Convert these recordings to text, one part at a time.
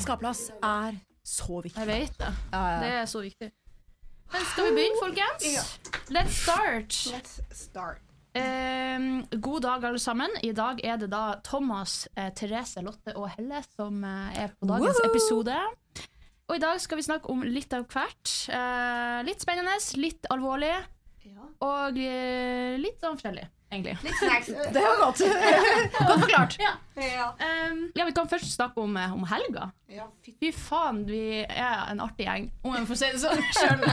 Skapplass er så Jeg viktig. vet det. Ja, Det ja. er så viktig. Men skal vi begynne, folkens? Let's start. Let's start. Ehm, god dag, alle sammen. I dag er det da Thomas, eh, Therese, Lotte og Helle som eh, er på dagens Woohoo! episode. Og i dag skal vi snakke om litt av hvert. Eh, litt spennende, litt alvorlig og eh, litt sånn forskjellig, egentlig. Litt snacks. Det var godt. Godt forklart. ja. ja. Ehm, ja, vi kan først snakke om, eh, om helga. Ja, fy- Fy faen, vi er en artig gjeng, om jeg får si det sånn sjøl.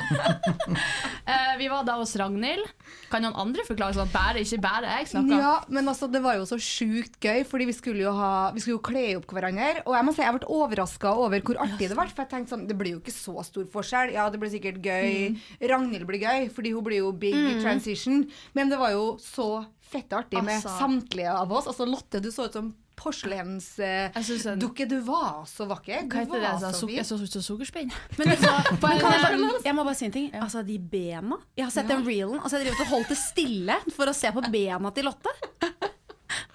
vi var da hos Ragnhild. Kan noen andre forklare sånn at bare ikke bare jeg snakka? Ja, men altså, det var jo så sjukt gøy, fordi vi skulle jo, ha, vi skulle jo kle opp hverandre. Og jeg må si jeg ble overraska over hvor artig det ble. For jeg tenkte sånn, det blir jo ikke så stor forskjell. Ja, det blir sikkert Mm. gøy. Ragnhild blir gøy, fordi hun blir jo big i transition. Men det var jo så fette artig med Altså. samtlige av oss. Altså, Lotte, du så ut som porselensdukke. Jeg synes Eh, en- dukke. du var så vakker. Du Hva heter det? var Sånn, så suk- jeg fin. så ut som sukkerspinn. Men altså, men kan jeg, bare, jeg må bare si en ting. Altså, de bena Jeg har sett den reelen. Altså, jeg drev og holdt det stille for å se på bena til Lotte.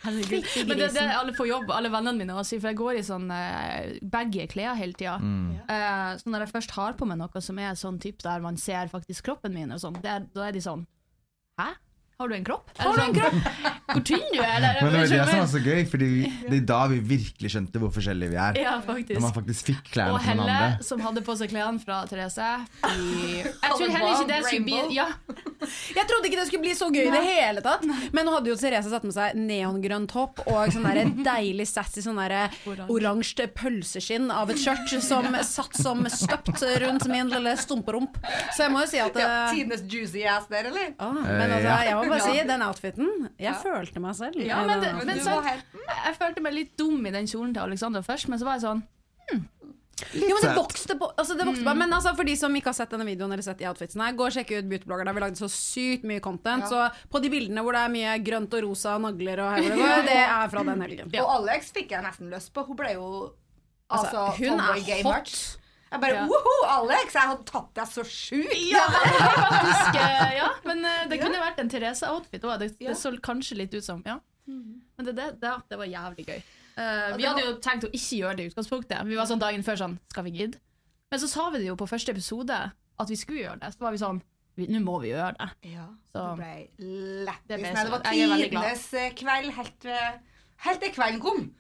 Herregud. Fytti Men det er det grisen. alle på jobb, alle vennene mine også sier, for jeg går i sånn eh, baggy klær hele tida. Eh, så når jeg først har på meg noe som er sånn typ der man ser faktisk kroppen min, og sånn, det er, da er de sånn Hæ? Har du en kropp? Har du en kropp? Hvor tynn du er? Eller, Men det var det som skjønner- var så gøy, Fordi det er da vi virkelig skjønte hvor forskjellige vi er. ja, faktisk. Når man faktisk fikk klærne Og fra Helle, hverandre. som hadde på seg klærne fra Therese. Fy- Jeg tror heller ikke det skulle bli Rainbow. ja. Jeg trodde ikke det skulle bli så gøy i det hele tatt. Men nå hadde jo Therese satt med seg neongrønn topp og sånn der deilig sassy sånn der oransje pølseskinn av et skjørt som satt som støpt rundt min lille stumperump. Så jeg må jo si at Ja, eh, Tidenes juicy ass der, eller? ah, Men altså, Ja. jeg må bare si, den outfiten Jeg følte meg selv. Ja, men det- Men du sant. var helt Jeg følte meg litt dum i den kjolen til Alexander først, men så var jeg sånn Jo, men det Litt vokste på, altså det vokste på. Men altså, for de som ikke har sett denne videoen eller sett de outfitsene, her, gå og sjekk ut Beautyblogger. Der vi lagde så sykt mye content. Så på de bildene hvor det er mye grønt og rosa og nagler og her, hvor det går, det er fra den helgen. Og Alex fikk jeg nesten lyst på. Hun ble jo altså, Altså, hun tomboy er gay hot. merch. Jeg bare Woho, Alex! Jeg hadde tatt deg så sjukt! Ja, faktisk, eh, ja. men eh, det kunne vært en Therese-outfit òg. Det, det så kanskje litt ut som. ja. Men det, det, det, det var jævlig gøy. Eh, vi hadde jo tenkt å ikke gjøre det i utgangspunktet. Vi var sånn dagen før sånn Skal vi gidde? Men så sa vi det jo på første episode at vi skulle gjøre det. Så var vi sånn "Vi- Nå må vi gjøre det. Ja, Så. hun ble lættis. Det ble Nei, så- Det var jeg er veldig glad. tidenes eh, kveld helt, eh, helt til kvelden kom.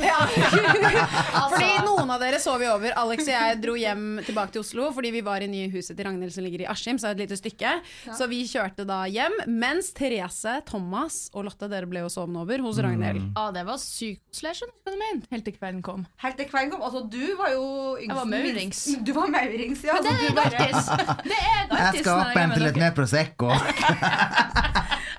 Fordi Altså, noen av dere sov jo over. Alex og jeg dro hjem tilbake til Oslo fordi vi var i nye huset til Ragnhild som ligger i Askim, så er det et lite stykke. Så vi kjørte da hjem. Mens Therese, Thomas og Lotte, dere ble jo sovende over hos Ragnhild. Ja, ah, det var sykt koselig. Jeg skjønner ikke hva du mener. Helt til kvelden kom. Helt til kvelden kom. Altså, du var jo yngst. Jeg var maurings. minst- Du var maurings, ja. Det Så er du bare- grattis! Det er grattis Jeg skal når opp er en med til dere. litt mer Prosecco.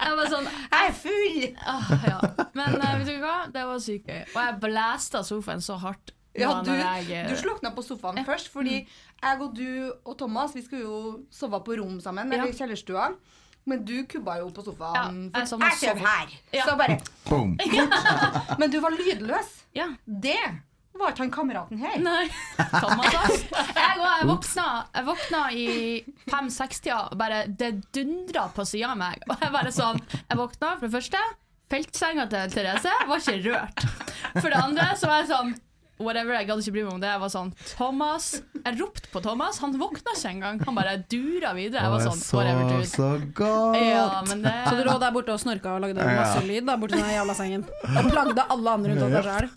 Jeg var sånn Jeg er full! ah, ja. Men eh, vet du hva? Det var sykt gøy. Og jeg blæsta sofaen så hardt. Ja, da du, når jeg, eh, Mm. du slukna på sofaen først, fordi jeg og du og Thomas Vi skulle jo sove på rom sammen, eller i kjellerstua. Men du kubba jo på sofaen. Ja, jeg for sovna jeg sover så- her! Ja. Så bare Boom. Men du var lydløs. Ja. Det var ikke han kameraten her. Nei. Thomas, ass. Jeg, og jeg, våkna, jeg våkna i fem-seks-tida, og bare det dundra på sida av meg. Og jeg bare sånn Jeg våkna, for det første. Feltsenga til Therese var ikke rørt. For det andre så var jeg sånn Whatever, Jeg gadd ikke bry meg om det. Jeg var sånn Thomas Jeg ropte på Thomas. Han våkna ikke engang. Han bare dura videre. Jeg var sånn Whatever, så dude. så Ja, godt. men det Så du lå der borte og snorka og lagde masse lyd da, borti den jævla sengen. Og plagde alle andre rundt deg sjøl.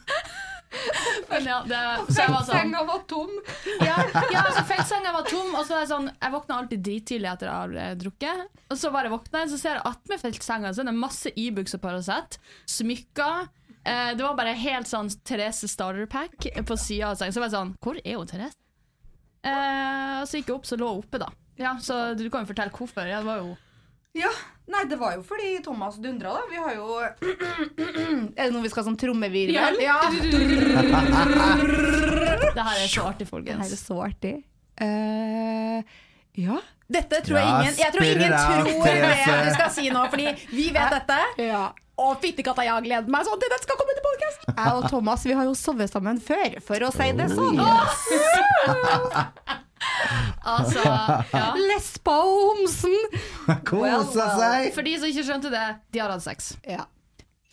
Men ja, det, så jeg var sånn Senga var tom. ja, ja, så feltsenga var tom, og så er jeg sånn Jeg våkner alltid drittidlig etter jeg har eh, drukket. Og så bare våkner jeg, så ser jeg attmed feltsenga så er det masse Ibux og Paracet. Smykker. Eh, det var bare helt sånn Therese starter pack på sida av senga. Så var jeg sånn Hvor er hun Therese? Eh, og så gikk jeg opp, så lå hun oppe, da. Ja, Så du kan jo fortelle hvorfor. Ja, det var jo Ja, Nei, det var jo fordi Thomas dundra, da. Vi har jo Er det noe vi skal ha sånn trommevirvel? Ja. Det her er så artig, Det her er folkens. så artig. Eh, ja. Dette tror jeg Ja, ingen Jeg tror spiller ingen av, tror Therese. det du skal si nå, fordi vi vet dette. Og fyttekatta, jeg har gledet meg sånn til dette skal komme til podcast! Jeg og Thomas vi har jo sovet sammen før, for å si det sånn. Altså, ja. Lesba og homsen. Kosa seg! For de som ikke skjønte det, de har hatt sex. Ja.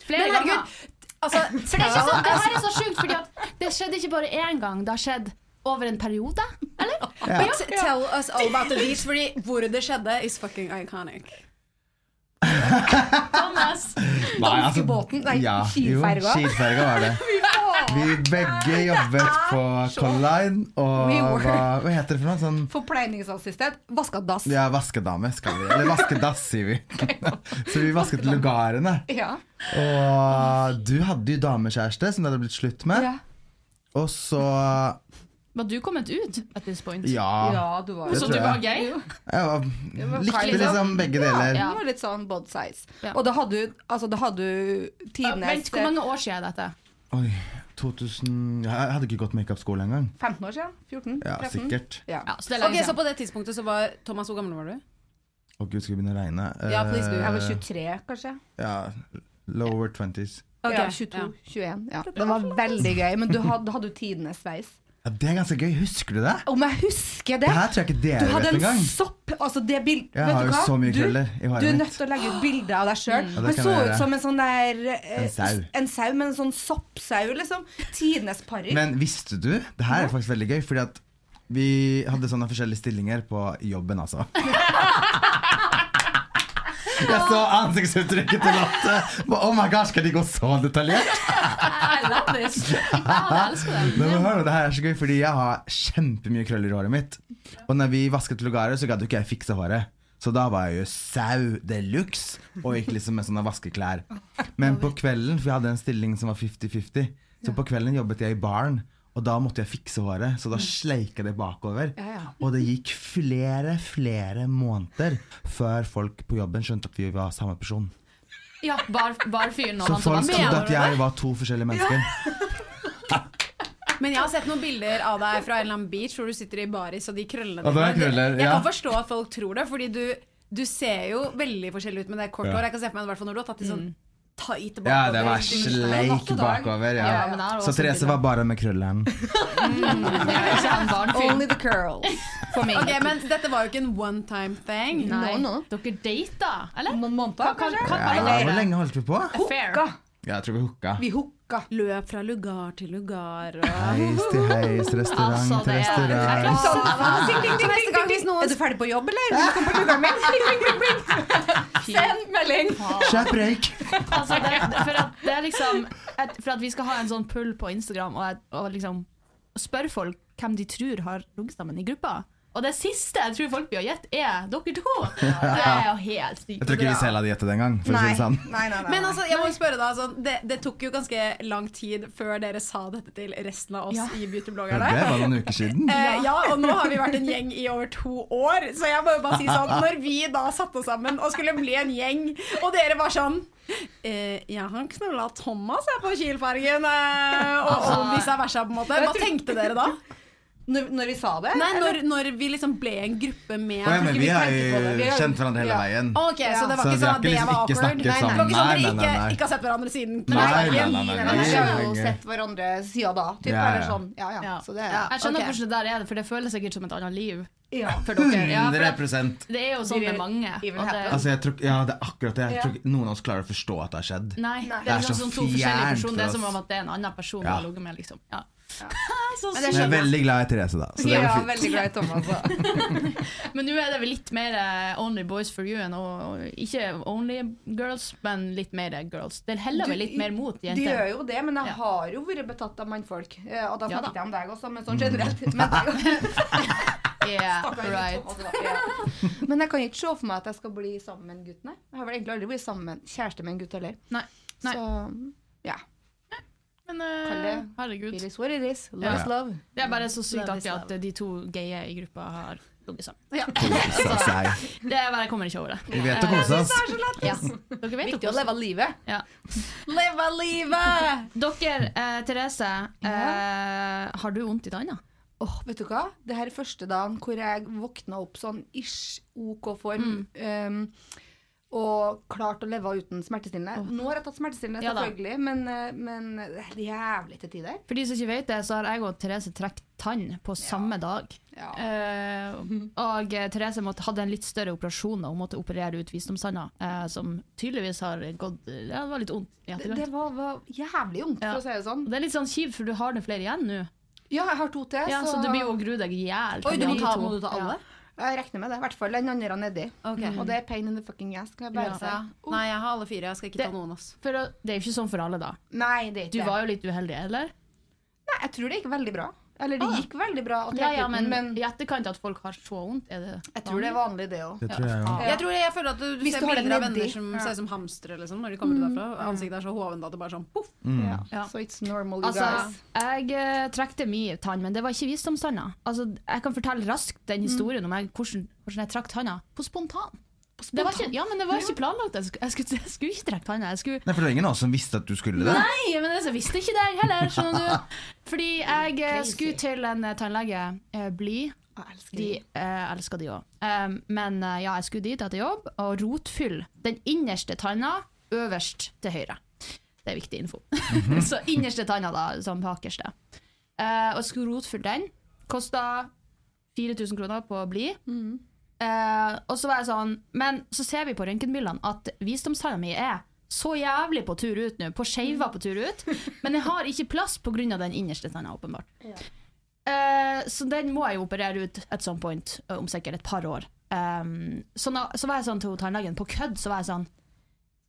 Flere Men ganger. herregud, altså, For det, er ikke så, det her er så sjukt, fordi at det skjedde ikke bare én gang. Det har skjedd over en periode. Eller? But tell us all about the beach, fordi hvor det skjedde is fucking iconic. Thomas. Danskebåten, nei, ja, skilferga. Jo, skilferga var det. Vi begge jobbet på Colline, og We were- hva, hva heter det for noe? Sånn Forpleiningsassistent. Vaska dass. ja, vaskedame, skal vi. Eller vaskedass, sier vi. Så vi vasket lugarene. Ja. Og du hadde jo damekjæreste som det hadde blitt slutt med. Ja. Og så Var du kommet ut at this point? ja, ja, du var Det Så tror du var jeg. gay? jeg var, var likte feil, liksom begge deler. Ja. Det var litt sånn both sides. Ja. Og da hadde du altså, da hadde du tidenes Vent, hvor mange år siden er dette? Oi, 2000 Jeg hadde ikke gått makeup-skole engang. 15 år siden? 14? Ja, 13? sikkert. Ja. Ja, så det er Ok, lenge Så siden. på det tidspunktet så var Thomas, hvor gammel var du? Å gud, skal vi begynne å regne? Eh, Ja, please do. Jeg var 23, kanskje. Ja, lower 20s. Ok, Ja, 22, 21. Ja. Det var veldig gøy. Men du hadde, hadde du tidenes sveis? Ja, det er ganske gøy. Husker du det? Om jeg husker Det det! her tror jeg ikke Du dere hadde vet en engang. sopp! Altså, det bildet Jeg har jo så mye krøller i Du er håret nødt mitt. til å legge ut bilde av deg sjøl. Ja, det Han kan så jeg ut gjøre. som en sånn der eh, En sau. En sau, men en sånn soppsau, liksom. Tidenes parykk. Men visste du? Det her er faktisk veldig gøy, fordi at vi hadde sånne forskjellige stillinger på jobben, altså. Jeg så ansiktsuttrykket til Lotte. Oh my god, skal de gå så detaljert? I love this. Ja, jeg elsker det. Nei, men hør nå, det her er så gøy, fordi jeg har kjempemye krøller i håret mitt. Og når vi vasket lugaret, så gadd jo ikke jeg fikse håret. Så da var jeg jo sau de luxe og gikk liksom med sånne vaskeklær. Men på kvelden, for jeg hadde en stilling som var 50-50, så på kvelden jobbet jeg i baren. Og da måtte jeg fikse håret, så da sleika det bakover. Og det gikk flere, flere måneder før folk på jobben skjønte at vi var samme person. Ja, bar, barfyren og Så han som var folk med. trodde at jeg var to forskjellige mennesker. Men jeg har sett noen bilder av deg fra en eller annen beach hvor du sitter i baris og de krøllene Og det er dine. krøller, Jeg ja. kan forstå at folk tror det, fordi du, du ser jo veldig forskjellig ut med det kort Ja. Mm. hår. Jeg kan se for meg i hvert fall når du har tatt de sånn tight bakover. Ja, det var sleik bakover. Ja. Ja, men det er også Så Therese var bare med krølleren. Jeg er ikke en barfyr. Only the curls. For meg. Ok, Men dette var jo ikke en one time thing. Nei, No, no. dere data, eller? Noen måneder, kanskje? Ja, hvor lenge holdt vi på? Fair. Hooka. Ja, jeg tror vi hooka. Vi hooka. Løp fra lugar til lugar og Heis til heis, restaurant Altså, det til er- restaurant. Ah, Neste gang hvis noen Er du ferdig på jobb, eller? Vil du komme på lugaren min? Pling, pling, pling, pling. Send melding. Kjøp røyk! Altså, det, for, at det er liksom, at, for at vi skal ha en sånn pull på Instagram og, og liksom spørre folk hvem de tror har ligget sammen i gruppa. Og det siste jeg tror folk blir gjett, er dere to! Det er jo helt sykt. Jeg tror ikke vi selv hadde gjettet det engang. For å si det sånn. nei, nei. Men altså, jeg må jo spørre da, altså, det, det tok jo ganske lang tid før dere sa dette til resten av oss Ja. i Ja, beautybloggerne. Det var noen uker siden. Eh, ja, og nå har vi vært en gjeng i over to år, så jeg må jo bare si sånn Når vi da satte oss sammen og skulle bli en gjeng, og dere var sånn eh, Jeg har knulla Thomas jeg, på Kielfergen, eh, og, og vice versa, på en måte. Hva tenkte dere da? Når, når vi sa det? Nei, når, når vi liksom ble en gruppe med Å, ja, men vi har jo Vi har jo- kjent hverandre hele ja. veien. Ok, Så det var ikke Så vi sånn har at det ikke liksom var ikke awkward? snakket Nei, nei. Det sammen. var ikke sånn at dere Nei, nei, nei, ikke, nei. ikke har sett hverandre siden? Nei, nei, Kielfergen. nei, nei, Nei, nei. Vi har jo Nei. sett hverandre siden da. Typ, Ja, ja. Eller sånn. Ja, ja. Så det, Ja. ja. Jeg skjønner Ok. hvordan det der er, for det føles sikkert som et annet liv. Ja. For dere. Ja, for 100 at det er jo sånn med mange. Evil at det- Altså, jeg tror, ja, det er akkurat det. Jeg tror ikke noen av oss klarer å forstå at det har skjedd. Nei, det Det er er liksom så sånn to forskjellige fjernt personer. Det er for som oss. om at det er en annen person du Ja. har ligget med, liksom. Ja. Men jeg Men jeg er sånn- skjønner. veldig glad i Therese, da. Så det Ja, går fint. veldig glad i Thomas. altså. da. Men nå er det vel litt mer eh, Only Boys for you enn og, og, Ikke Only Girls, men litt mer girls. Det heller vel litt mer mot De gjør jenter. jo det, men Ja. jeg har jo vært betatt av mannfolk. Eh, Og da Ja, snakket da. jeg om deg også, men Mm. sånn generelt. Men, deg, Yeah, right. Thomas, da. Ja. men jeg kan ikke se for meg at jeg skal bli sammen med en gutt, nei. Jeg har vel egentlig aldri blitt sammen med en kjæreste med en gutt heller. Nei. Nei. Så ja. Men eh, Kalle, herregud. It is what it is. Love Ja. is love. Det er bare så sykt Love is artig at eh, de to gaye i gruppa har ligget sammen. Kosa seg. Det er bare, jeg kommer ikke over det. Vi vet å kose oss. Ja. Dere vet jo Viktig å leve livet. Ja. Leve livet! Dere, eh, Therese, eh, har du vondt i tanna? Åh, vet du hva? Det her er første dagen hvor jeg våkna opp sånn ish OK form. Mm. ehm, og klarte å leve uten smertestillende. Nå har jeg tatt smertestillende, Ja da. selvfølgelig, men, eh, men det er jævlig til tider. For de som ikke vet det, så har jeg og Therese trukket tann på samme dag. Ja. Eh, og eh, Therese måtte, hadde en litt større operasjon og måtte operere ut visdomstanna, eh, som tydeligvis har gått Ja, det var litt vondt i Det, det etterkant. var, var jævlig vondt, Ja. for å si det sånn. Og Det er litt sånn kjipt, for du har det flere igjen nå. Ja, jeg har to til, Ja, så så du blir jo å grue deg i hjel. Oi, du må De ta, to. må du ta Ja. alle? jeg regner med det. I hvert fall den andre nedi. Mm. Og det er pain in the fucking ass. Kan jeg Ja. bare si. Nei, jeg har alle fire. Jeg skal ikke Det- ta noen, ass. For å- det er jo ikke sånn for alle, da. Nei, det er Du ikke var jo litt uheldig, eller? Nei, jeg tror det gikk veldig bra. Eller det gikk veldig bra å Ah. Ja, trekke ja, ut men, den, men i etterkant at folk har så vondt, er det jeg tror det er vanlig, det òg. Det tror jeg jo. Jeg tror jeg føler at du, du Hvis ser du har det bilder av nedi. venner som ser ut som hamstere liksom, når de kommer til derfra. Ansiktet er så hovent at det bare sånn poff. Ja. Ja. So it's normal, you Altså, guys. jeg uh, trekte mye tann, men det var ikke visdomstanna. Altså, jeg kan fortelle raskt den historien om jeg, hvordan, hvordan jeg trakk tanna på spontan. Det var ikke, ja, men det var ikke planlagt. Jeg skulle, jeg skulle, jeg skulle ikke trekke tanna. Jeg skulle Nei, for det var ingen av oss som visste at du skulle det. Nei, men altså, jeg visste ikke det heller, skjønner du. Fordi jeg eh, skulle til en eh, tannlege, eh, Bli. Jeg elsker De eh, elsker de òg. men eh, ja, jeg skulle dit etter jobb, og rotfyll den innerste tanna øverst til høyre. Det er viktig info. Så innerste tanna, da, som bakerste. Eh, og skulle rotfylle den. Kosta 4000 kroner på Bli. Eh, og så var jeg sånn Men så ser vi på røntgenbildene at visdomstanna mi er så jævlig på tur ut nå, på skeiva på tur ut, men jeg har ikke plass pga. den innerste tanna, åpenbart. Eh, så den må jeg jo operere ut at some point, eh, om sikkert et par år. Um, så, nå, så var jeg sånn til tannlegen, på kødd, så var jeg sånn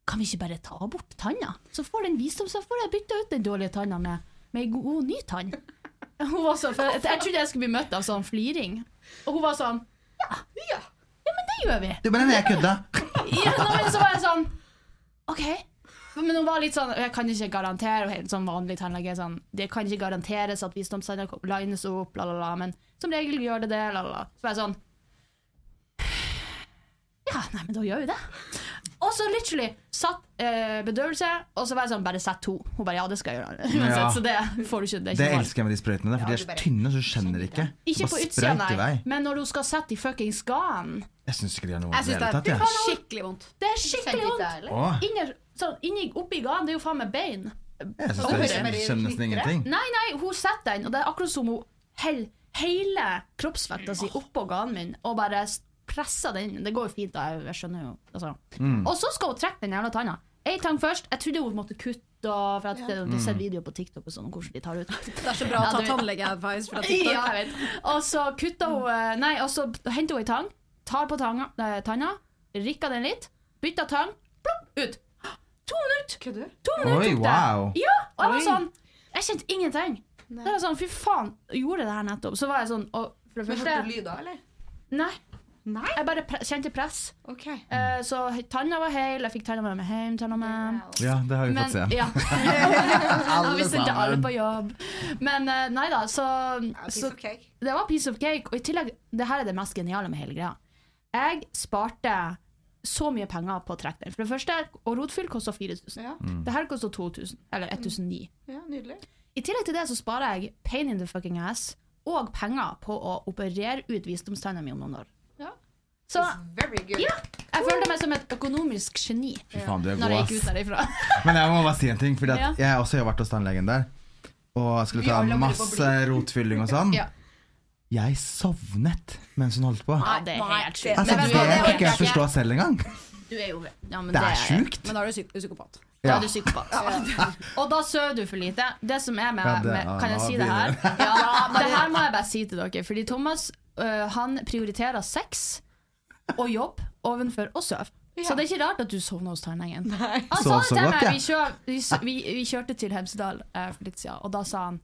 Kan vi ikke bare ta bort tanna? Så får den visdom, så får jeg bytta ut den dårlige tanna med, med ei god, ny tann. Hun var sånn, for jeg, jeg trodde jeg skulle bli møtt av sånn fliring. Og hun var sånn Ja, ja, ja men det gjør vi. Det er bare nei, jeg kødda. Ja, nei, men så var jeg sånn OK. Men hun var litt sånn Jeg kan ikke garantere og helt sånn vanlig tannlege er sånn, Det kan ikke garanteres at visdomstanna lines opp, la, la, la, men som regel gjør det det, la, la, la. Så var jeg sånn Ja, nei, men da gjør vi det. Og så literally satt eh, bedøvelse, og så var jeg sånn Bare sett to. Hun bare Ja, det skal jeg gjøre. Uansett, Ja. Så det får du ikke. Det er Det ikke noe valg. elsker jeg med de sprøytene, der, for de er så tynne, så du skjønner det ikke. Ikke Bare på utsida, sprøyt i nei, vei. men når hun skal sette i fuckings ganen. Jeg syns ikke de har noe Jeg vondt i syns det hele tatt. det er jeg. skikkelig vondt. Det er skikkelig vondt. Åh, Inner- Sånn, inni, oppi ganen, det er jo faen meg bein. Jeg syns det er- jeg skjønner nesten ingenting. Nei, nei, hun setter den, og det er akkurat som hun heller hele kroppsvekta si oppå ganen min og bare s- presser den. Det går jo fint, da. Jeg, jeg skjønner jo. Altså. Og så skal hun trekke den jævla tanna. Ei tang først. Jeg trodde hun måtte kutte, og- for at det, det er sett videoer på TikTok og sånn, om hvordan de tar ut. Det er så bra å Ja, ta du- tannlege-advice fra TikTok. Ja, jeg vet. Og så kutta hun eh, Nei, og så henter hun ei tang, tar på tanga, eh, tanna, rikker den litt, bytter tang, plopp, ut. To minutter! Kødder du? To minutter Oi, tok det! wow. Ja, og jeg var sånn Jeg kjente ingenting. Det var sånn, Fy faen, gjorde jeg det her nettopp? Så var jeg sånn og For det Hørte du første lyder, eller? Nei. Nei? Jeg bare pre kjente press. Ok. Eh, Mm. så tanna var heil, jeg fikk tanna med meg hjem. Tanna med. Ja, det har vi fått se. ja. Alle Vi sendte alle sammen. på jobb. Men eh, nei da, så, Piece så of cake. Det var piece of cake. Og i tillegg, det her er det mest geniale med hele greia. Jeg sparte så mye penger på å trekke den. For det første, og rotfyll koster 4000. Ja. Mm. Det her koster 2000, eller 1009. ja, nydelig. I tillegg til det så sparer jeg pain in the fucking ass og penger på å operere ut visdomstanna mi om noen år. Ja. Så Very good. ja, jeg følte meg som et økonomisk geni Fy faen, du er når god, jeg gikk ut ass. derifra. Men jeg må bare si en ting, for Ja. jeg også har vært hos tannlegen der. Og skulle Vi ta alle har vært på masse rotfylling og sånn. Ja. Jeg sovnet mens hun holdt på. Ja, det er helt sjukt. Altså, Men vet det du hva, kan det ikke jeg forstå selv engang. Du er jo ja, men Det er sjukt. Men da er du psyk psykopat. Da Ja. er du psykopat. Og da sover du for lite. Det som er med, Ja, det- med Kan jeg ja, si det det her? er- Ja, det her må jeg bare si til dere. Fordi Thomas øh, han prioriterer sex og jobb ovenfor å sove. Så det er ikke rart at du sovner hos tannlegen. Han sa Sov det Sånn så til godt, meg. ja. Vi, kjør, vi, s- vi, vi kjørte til Hemsedal eh, for litt siden, og da sa han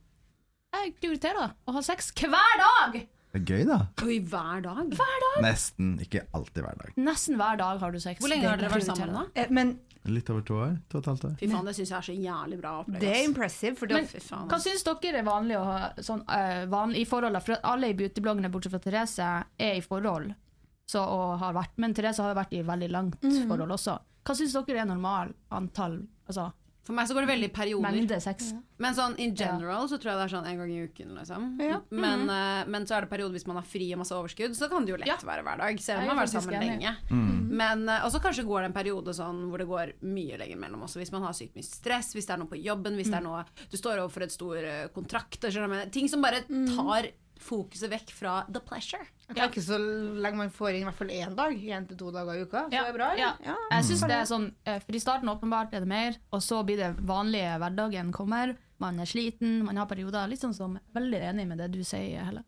jeg prioriterer å ha sex hver dag! Det er gøy, da. Oi, hver dag? Nesten. Ikke alltid hver dag. Nesten hver dag har du sex. Hvor lenge har dere vært prioriterer sammen da? jeg. Eh, Men Litt over to år? To og et halvt år. Fy faen, det syns jeg er så jævlig bra opplegg. det er ass. impressive. For det, Men Fy faen, hva ass. syns dere er vanlig å ha sånn, eh, vanlig, i forholdene? For at alle i beautybloggene bortsett fra Therese er i forhold. Så, og har vært. Men Therese har jo vært i veldig langt Mm. forhold også. Hva syns dere er normal antall altså, For meg så går det veldig i perioder. mengde sex? Men sånn in general så tror jeg det er sånn en gang i uken, liksom. Mm-hmm. Men, eh, men så er det perioder hvis man har fri og masse overskudd, så kan det jo lett være hver dag. Selv om Jeg er man har vært faktisk sammen enig. Mm-hmm. lenge. Mm. Men, eh, og så kanskje går det en periode sånn hvor det går mye lenger mellom også. Hvis man har sykt mye stress, hvis det er noe på jobben, hvis Mm. det er noe Du står overfor et stor eh, kontrakt, og skjønner du hva jeg mener. Ting som bare Mm. tar fokuset vekk fra the pleasure. jeg tenker så lenge man får inn i hvert fall én dag, én til to dager i uka, så Ja, er det bra. eller? ja. Ja. Mm. Jeg synes det er sånn eh, For i starten åpenbart er det mer, og så blir det vanlige hverdagen kommer. Man er sliten, man har perioder. Litt sånn som Veldig enig med det du sier, Helle.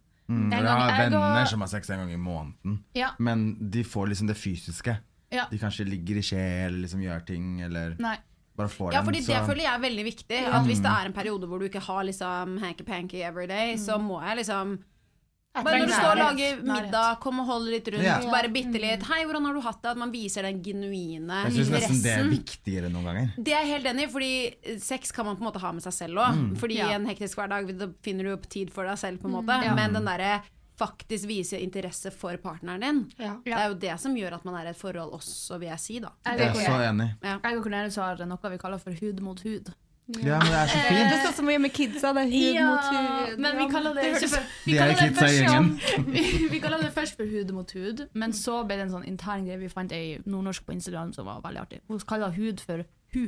En Mm, jeg gang har jeg venner går- som har sex en gang i måneden. Ja. Men de får liksom det fysiske. Ja. De kanskje ligger i skje eller liksom gjør ting eller Nei. bare får Ja, dem. fordi så- det føler jeg er veldig viktig. Mm. At hvis det er en periode hvor du ikke har liksom hanky-panky every day, så Mm. må jeg liksom Bare når du står og lager middag, kom og hold litt rundt, Ja. bare bitte litt. Hei, hvordan har du hatt det? At man viser den genuine Jeg syns nesten det er interessen. viktigere noen ganger. Det er jeg helt enig i, fordi sex kan man på en måte ha med seg selv òg. Mm. Fordi i Ja. en hektisk hverdag da finner du opp tid for deg selv, på en måte. Men den derre faktisk vise interesse for partneren din, Ja. det er jo det som gjør at man er i et forhold også, vil jeg si, da. Jeg er så enig. Jeg og Cornelius har noe vi kaller for hud mot hud. Ja, men det er så fint. Eh, Det sånn står som å gjøre med kidsa. Det er hud mot hud. men vi kaller det, ikke for, vi De er kaller det kidsa i først gjengen. som- vi, vi kaller det først for hud mot hud, men så ble det en sånn intern greie. Vi fant ei nordnorsk på Instagram som var veldig artig. Hun kaller hud for hu.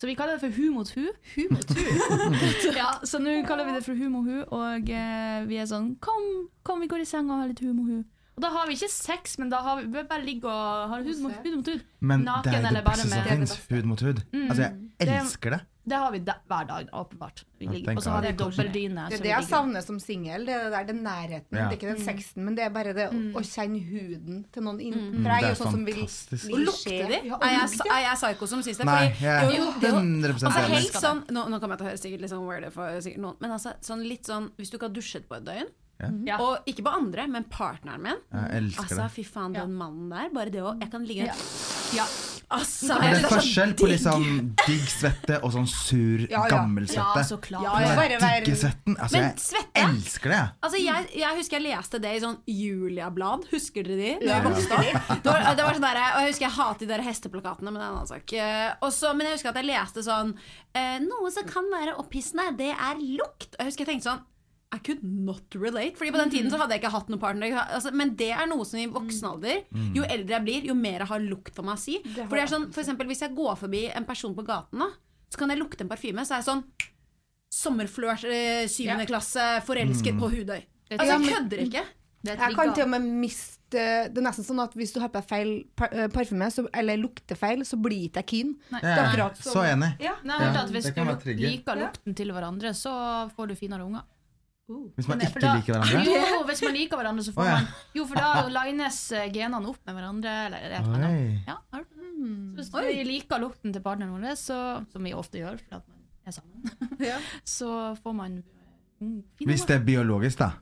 Så vi kaller det for hu mot hu. Hu mot hu. ja, så nå kaller vi det for hu mot hu, og eh, vi er sånn kom, kom, vi går i seng og har litt hu mot hu. Og da har vi ikke sex, men da har vi, vi bare ligger og har hud mot hud. Mot hud. Men det Naken er jo eller det bare beste som med- fins. Hud mot hud. Altså, jeg Det- elsker det. Det har vi da, hver dag, åpenbart. Vi Ja, ligger- tenk Og så har av. vi dobbeldyne. Det er som vi det jeg ligger Mm. i. savner som singel. Det, er den nærheten. Ja. Det er ikke den sexen, men det er bare det å- Mm. å kjenne huden til noen inn. Mm. For Det jeg er er jo sånn som vil fantastisk. vil Og lukte skje. de? Ja, og Er jeg, lukte. er jeg psyko som syns det? Nei, Fordi- jeg er Jo, jo, jo. 100 Altså enig. helt sånn Nå, nå kommer jeg til å høre sikkert litt sånn weird ut for sikkert noen, men altså sånn litt sånn hvis du ikke har dusjet på et døgn, Mhm. Ja. og ikke på andre, men partneren min Jeg elsker Altså, fy det. faen, den mannen der, bare det å Jeg kan ligge Ja. Altså, Men jeg det er synes så forskjell på digg. liksom digg svette og sånn sur, Ja, ja. gammel ja, så svette. klart. Ja, ja. Bare være- Digge svetten. Altså, Men jeg svette? elsker det, jeg. Altså, jeg, jeg husker jeg leste det i sånn Julia-blad. Husker dere de? Når Ja. jeg vokste opp. Det var, det var sånn der, og jeg husker jeg hatet de der hesteplakatene, men det er en annen sak. Eh, og så- men jeg husker at jeg leste sånn eh, Noe som kan være opphissende, det er lukt. Og jeg husker jeg tenkte sånn I could not relate. Fordi på den tiden så hadde jeg ikke hatt noen partner. Altså, men det er noe som i voksen alder, jo eldre jeg blir, jo mer jeg har lukt for meg å si. For Mm. det er sånn, for eksempel hvis jeg går forbi en person på gaten, da, så kan jeg lukte en parfyme, så er jeg sånn Sommerflørt, eh, syvende klasse, forelsket på Hudøy. Altså, jeg kødder ikke. Det Jeg kan til og med miste Det er nesten sånn at hvis du har på deg feil par- eh, parfyme, så, eller lukter feil, så blir ikke jeg keen. Det er Jeg akkurat er så som- enig. Ja. Nei, jeg hørte Ja, at Hvis det kan være du trigger. liker lukten til hverandre, så får du finere unger. Hvis man For ikke da- liker hverandre. Jo, hvis man liker hverandre, så får Å, ja. man Jo, for da lines eh, genene opp med hverandre, eller et eller annet. Oi. Ja, har du- Mm. så hvis vi liker lukten til partneren vår, så, som vi ofte gjør fordi at man er sammen, så får man eh, mm, fine Hvis det er biologisk, da.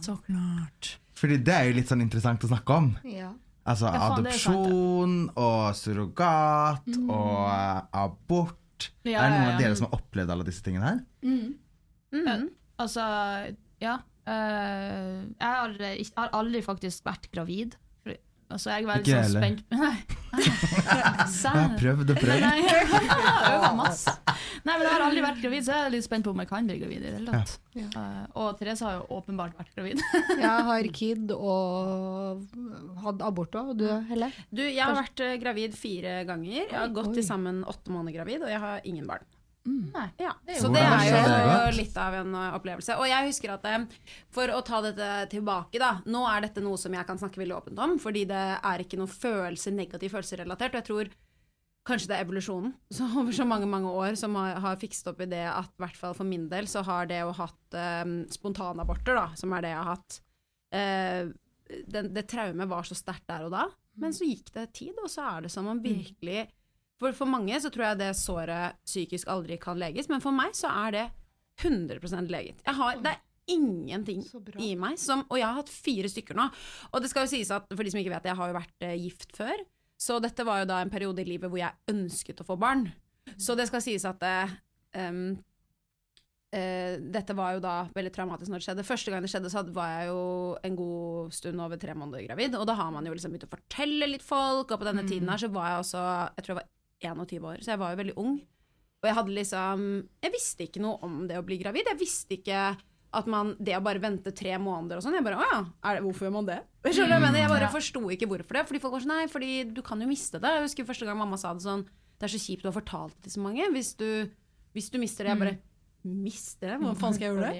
Så klart. Fordi det er jo litt sånn interessant å snakke om. Ja. Altså Ja, faen, det er jo sant, adopsjon og surrogat og eh, abort. Ja, er det noen ja, ja. av dere som har opplevd alle disse tingene her? Altså, ja. eh, jeg, har, eh, ikke- har aldri faktisk vært gravid. For- Altså, jeg er veldig Ikke jeg sånn heller. spent Nei. Jeg har Sær. prøvd og prøvd. Nei, jeg øver masse. Nei, men jeg har aldri vært gravid, så jeg er litt spent på om jeg kan bli gravid. i det hele tatt. Eh, og Therese har jo åpenbart vært gravid. Jeg har kid og hadde abort òg. Og du, Mm. Helle? Du, jeg har vært eh, gravid fire ganger. Jeg har gått til sammen åtte måneder gravid, og jeg har ingen barn. Nei. Ja, Det er jo så godt. det Mm. Hvordan er jo skjedde det godt? litt av en uh, opplevelse. Og jeg husker at eh, for å ta dette tilbake, da Nå er dette noe som jeg kan snakke veldig åpent om, fordi det er ikke noe følelse, negativ følelsesrelatert. Og jeg tror kanskje det er evolusjonen så over så mange mange år som har, har fikset opp i det at i hvert fall for min del så har det å hatt eh, spontanaborter, da, som er det jeg har hatt eh, den, Det traumet var så sterkt der og da, men så gikk det tid, og så er det som om virkelig for, for mange så tror jeg det såret psykisk aldri kan leges, men for meg så er det 100 leget. Jeg har, det er ingenting i meg som Og jeg har hatt fire stykker nå. Og det skal jo sies at for de som ikke vet det, jeg har jo vært eh, gift før. Så dette var jo da en periode i livet hvor jeg ønsket å få barn. Så det skal sies at eh, em, eh, dette var jo da veldig traumatisk når det skjedde. Første gang det skjedde, så hadde- var jeg jo en god stund over tre måneder gravid. Og da har man jo liksom begynt å fortelle litt folk, og på denne tiden her så var jeg også Jeg tror jeg var 21 år, så jeg var jo veldig ung. Og jeg hadde liksom Jeg visste ikke noe om det å bli gravid. Jeg visste ikke at man, det å bare vente tre måneder og sånn Jeg bare Å ja, er det, hvorfor gjør man det? Skjønner du hva Jeg, mener? jeg bare forsto ikke hvorfor det. Fordi folk var sånn Nei, fordi du kan jo miste det. Jeg husker første gang mamma sa det sånn Det er så kjipt du har fortalt det til så mange. Hvis du, hvis du mister det Jeg bare Mister det? Hva faen skal jeg gjøre det?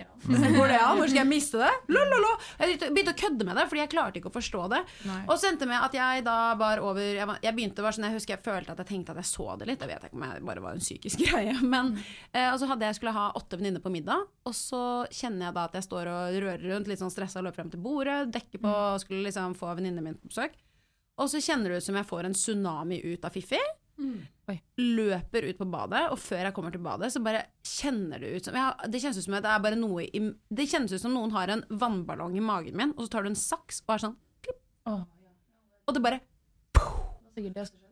Går det an? Hvor skal jeg miste det? Lololo. Jeg begynte å kødde med det, fordi jeg klarte ikke å forstå det. Og så endte det med at jeg da var over Jeg, var, jeg begynte bare sånn, jeg husker jeg følte at jeg tenkte at jeg så det litt. Jeg vet ikke om jeg bare var en psykisk greie. Men, eh, og så hadde jeg skulle ha åtte venninner på middag, og så kjenner jeg da at jeg står og rører rundt, litt sånn stressa, løper frem til bordet, dekker på, skulle liksom få venninnene mine på besøk. Og så kjenner det ut som jeg får en tsunami ut av Fifi. Oi. Løper ut på badet, og før jeg kommer til badet, så bare kjenner det ut som jeg, har- Det kjennes ut som at det er bare noe i Det kjennes ut som noen har en vannballong i magen min, og så tar du en saks og er sånn klipp. Å, Og det bare Sikkert det som skjer.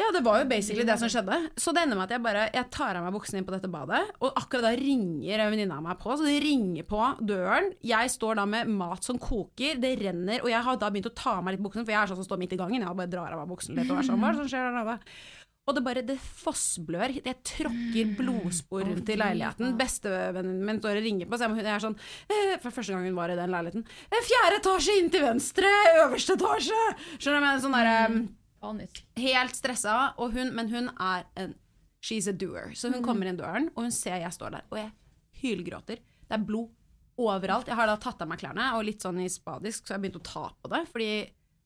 ja, det var jo basically det som skjedde. Så det ender med at jeg bare jeg tar av meg buksene inn på dette badet, og akkurat da ringer en venninne av meg på. Så det ringer på døren. Jeg står da med mat som koker, det renner, og jeg har da begynt å ta av meg litt buksene, for jeg er sånn som står midt i gangen. Jeg bare drar av meg buksene litt og er sånn, hva er det som skjer der nede? Og det bare, det fossblør. Jeg tråkker blodspor rundt i leiligheten. Bestevennen min står og ringer på, så jeg, må, jeg er sånn eh, For første gang hun var i den leiligheten. «Eh, Fjerde etasje inn til venstre! Øverste etasje! Skjønner du? Men sånn derre Panisk. Helt stressa, og hun, men hun er en She's a doer. Så Mhm. hun kommer inn døren, og hun ser jeg står der. Og jeg hylgråter. Det er blod overalt. Jeg har da tatt av meg klærne, og litt sånn i spadisk, så jeg begynte å ta på det. Fordi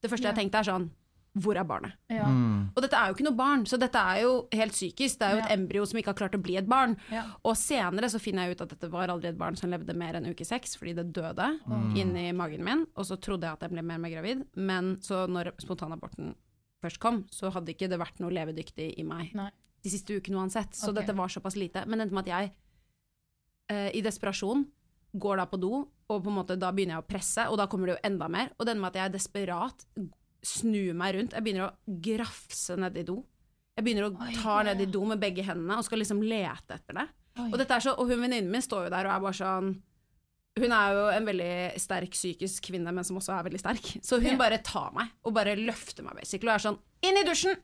det første jeg tenkte, er sånn Hvor er barnet? Ja. Og dette er jo ikke noe barn, så dette er jo helt psykisk. Det er jo et Ja. embryo som ikke har klart å bli et barn. Ja. Og senere så finner jeg ut at dette var aldri et barn som levde mer enn uke seks, fordi det døde Mm. inni magen min. Og så trodde jeg at jeg ble mer og mer gravid, men så når spontanaborten først kom, så hadde ikke det vært noe levedyktig i meg Nei. de siste ukene uansett. Så Ok. dette var såpass lite. Men det endte med at jeg, eh, i desperasjon, går da på do, og på en måte da begynner jeg å presse, og da kommer det jo enda mer. Og det endte med at jeg desperat snur meg rundt. Jeg begynner å grafse ned i do. Jeg begynner å Oi. ta ned i do med begge hendene og skal liksom lete etter det. Oi. Og, dette er så, og hun venninnen min står jo der og er bare sånn Hun er jo en veldig sterk psykisk kvinne, men som også er veldig sterk. Så Ja. hun bare tar meg og bare løfter meg basically og er sånn Inn i dusjen!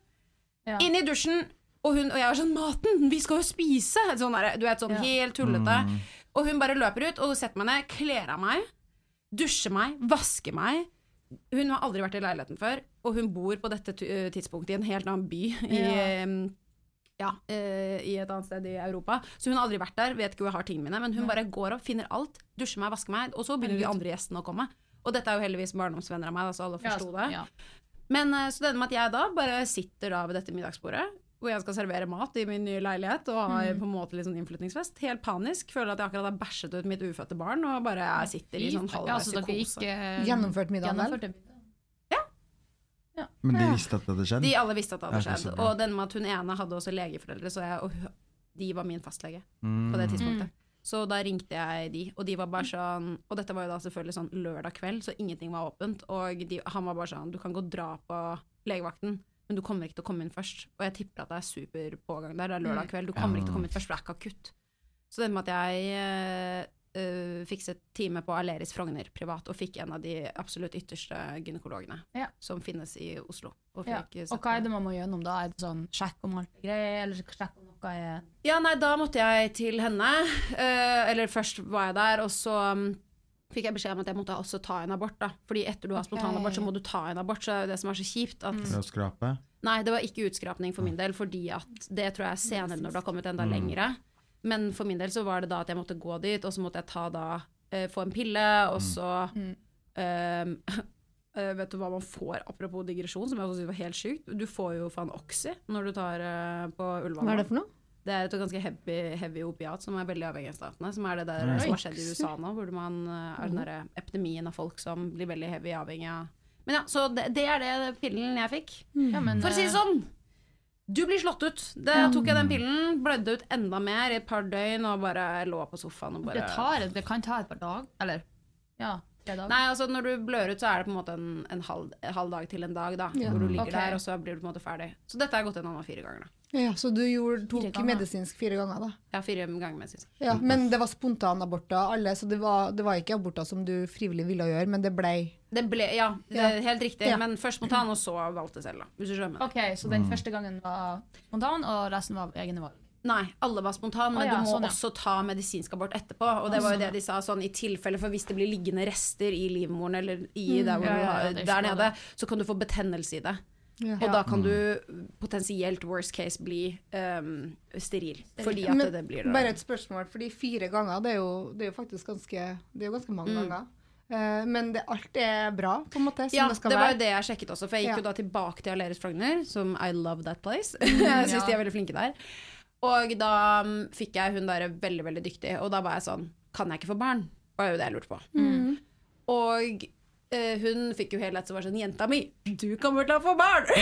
Ja. Inn i dusjen! Og, hun, og jeg var sånn Maten! Vi skal jo spise! Sånn der, du vet, sånn Ja. helt tullete. Mm. Og hun bare løper ut og setter meg ned, kler av meg, dusjer meg, vasker meg. Hun har aldri vært i leiligheten før, og hun bor på dette tu- eh, tidspunktet i en helt annen by. I, Ja. eh, ja, eh, I et annet sted i Europa. Så hun har aldri vært der, vet ikke hvor jeg har tingene mine. Men hun bare går opp, finner alt, dusjer meg, vasker meg, og så begynner de andre gjestene å komme. Og dette er jo heldigvis barndomsvenner av meg, da, så alle Ja, altså, forsto det. Ja. Men eh, så det ender med at jeg da bare sitter da ved dette middagsbordet, hvor jeg skal servere mat i min nye leilighet og har Mm. på en måte litt sånn innflytningsfest. Helt panisk. Føler at jeg akkurat har bæsjet ut mitt ufødte barn og bare jeg sitter i sånn Ja, halvveis altså, dere gikk psykose. eh, Gjennomført middagen, vel? gjennomførte middagen. Men de visste at det hadde skjedd? De alle visste at det hadde Ja, det er så skjedd. bra. Og den med at hun ene hadde også legeforeldre, så jeg, og hun- de var min fastlege Mm. på Mm. det tidspunktet. Så da ringte jeg de, og de var bare sånn Og dette var jo da selvfølgelig sånn lørdag kveld, så ingenting var åpent. Og de, han var bare sånn Du kan gå og dra på legevakten, men du kommer ikke til å komme inn først. Og jeg tipper at det er super pågang der. Det er Mm. lørdag kveld, du kommer ikke til å komme inn først, for det er ikke akutt. Så det med at jeg eh, eh, fikset time på Aleris Frogner privat, og fikk en av de absolutt ytterste gynekologene Ja. som finnes i Oslo. Og, Ja. fikk sett Og hva er det man må gjennom da? Er det sånn sjekk om alt er greit, eller sjekk om noe er Ja, nei, da måtte jeg til henne. Eh, eller først var jeg der, og så mm, fikk jeg beskjed om at jeg måtte også ta en abort. da. Fordi etter du har spontanabort, så må du ta en abort. Så det er jo det som er så kjipt. at... Mm. Å skrape. Nei, det var ikke utskrapning for min del, fordi at det tror jeg er senere når det har kommet Mm. enda lengre. Men for min del så var det da at jeg måtte gå dit, og så måtte jeg ta da eh, få en pille, og Mm. så ehm, eh, Vet du hva man får, apropos digresjon, som jeg også synes var helt sjukt? Du får jo faen Oxy når du tar eh, på Ullevål. Hva er det for noe? Det er et ganske heavy, heavy opiat som er veldig avhengig av statene. Som er det der som har skjedd i USA nå, hvor man eh, er den Mm. derre epidemien av folk som blir veldig heavy avhengig av Men ja, så det, det er det pillen jeg fikk. For å eh, si det sånn! Du blir slått ut. Da Mm. tok jeg den pillen, blødde ut enda mer i et par døgn og bare lå på sofaen og bare Det, tar, det kan ta et par dager. Eller ja, tre dager. Nei, altså Når du blør ut, så er det på en måte en, en, halv, en halv dag til en dag. da Hvor du ligger Ok. der, og så blir du på en måte ferdig. Så dette har jeg gått gjennom nå fire ganger. da Ja, så du gjorde, tok Fire ganger. medisinsk fire ganger, da. Ja, fire ganger med sist. Ja, men det var spontanaborter alle, så det var, det var ikke aborter som du frivillig ville gjøre, men det blei Det ble, ja, det er helt riktig. Ja. Men først spontan, og så valgte selv, da. Hvis du skjønner. Ok, Så den første gangen var spontan, og resten var egne valg. Nei, alle var spontan, men Å ja, du må sånn, ja. også ta medisinsk abort etterpå. Og det var jo det de sa, sånn i tilfelle, for hvis det blir liggende rester i livmoren eller i der, hvor ja, du ja, har, det er der ikke nede, så kan du få betennelse i det. Ja. Og da kan du potensielt, worst case, bli ehm, steril. Fordi at det, det blir det. Bare et spørsmål, fordi fire ganger, det er jo, det er jo faktisk ganske Det er jo ganske mange ganger. Eh, men det, alt er bra, på en måte, Mm. som ja, det det, skal var jo være. det jeg sjekket også, for jeg gikk Ja. jo da tilbake til Aleris Frogner, som I love that place. jeg syns de er veldig flinke der. Og da mm, fikk jeg hun der veldig, veldig dyktig, og da var jeg sånn Kan jeg ikke få barn? var jo det jeg lurte på. Mm. Og eh, hun fikk jo helt lett som var sånn Jenta mi, du kommer til å få barn!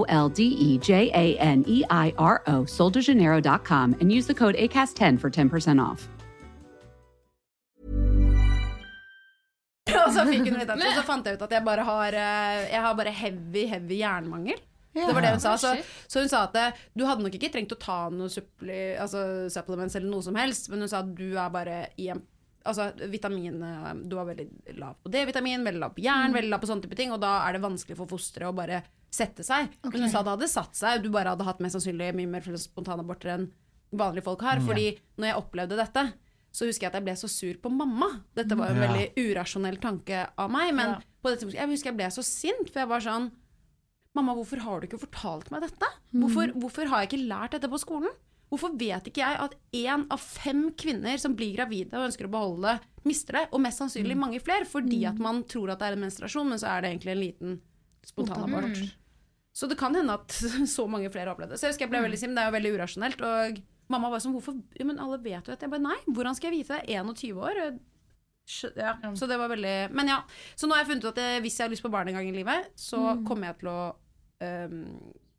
L D E J A N E I R O, soldejaneiro.com, and use the code ACAST10 for 10% off. Og så fikk hun litt etter, og så fant jeg ut at jeg bare har, eh, jeg har bare heavy, heavy jernmangel. Det var det hun sa. Så, så hun sa at eh, du hadde nok ikke trengt å ta noen supple, altså, supplements eller noe som helst, men hun sa at du er bare i en Altså, vitamin, eh, du har veldig lav på D-vitamin, veldig lav på jern, veldig lav på sånne type ting, og da er det vanskelig for fosteret å bare sette seg. Men hun sa det hadde satt seg, du bare hadde hatt mest sannsynlig mye mer spontanaborter enn vanlige folk har. Fordi når jeg opplevde dette, så husker jeg at jeg ble så sur på mamma. Dette var jo en Ja. veldig urasjonell tanke av meg, men på dette, jeg husker jeg ble så sint, for jeg var sånn Mamma, hvorfor har du ikke fortalt meg dette? Hvorfor, hvorfor har jeg ikke lært dette på skolen? Hvorfor vet ikke jeg at én av fem kvinner som blir gravide og ønsker å beholde det, mister det? Og mest sannsynlig mange flere, fordi at man tror at det er en menstruasjon, men så er det egentlig en liten spontanabort. Så det kan hende at så mange flere har opplevd det. Så jeg husker jeg ble veldig sim, det er jo veldig urasjonelt. Og mamma var sånn, hvorfor ja, Men alle vet jo dette. Jeg bare nei, hvordan skal jeg vite det? 21 år? Jeg skjø- Ja. Så det var veldig Men ja. Så nå har jeg funnet ut at eh, hvis jeg har lyst på barn en gang i livet, så kommer jeg til å ehm,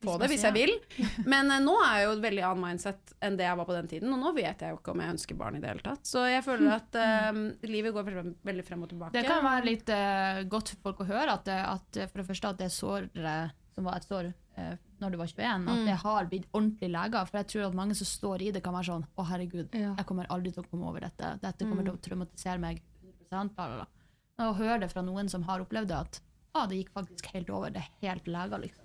få det Mm. hvis jeg vil. Men eh, nå er jeg jo et veldig annet mindset enn det jeg var på den tiden. Og nå vet jeg jo ikke om jeg ønsker barn i det hele tatt. Så jeg føler at ehm, livet går frem, veldig frem og tilbake. Hm. Det kan være litt eh, godt for folk å høre at, det- at eh, for det første at det såret som var et sår eh, når du var 21, at det har blitt ordentlig leger. For jeg tror at mange som står i det, kan være sånn Å, herregud, Ja. jeg kommer aldri til å komme over dette. Dette kommer til å traumatisere meg 100 bla, bla, bla. Og å høre det fra noen som har opplevd det, at ah, det gikk faktisk helt over. Det er helt leger, liksom.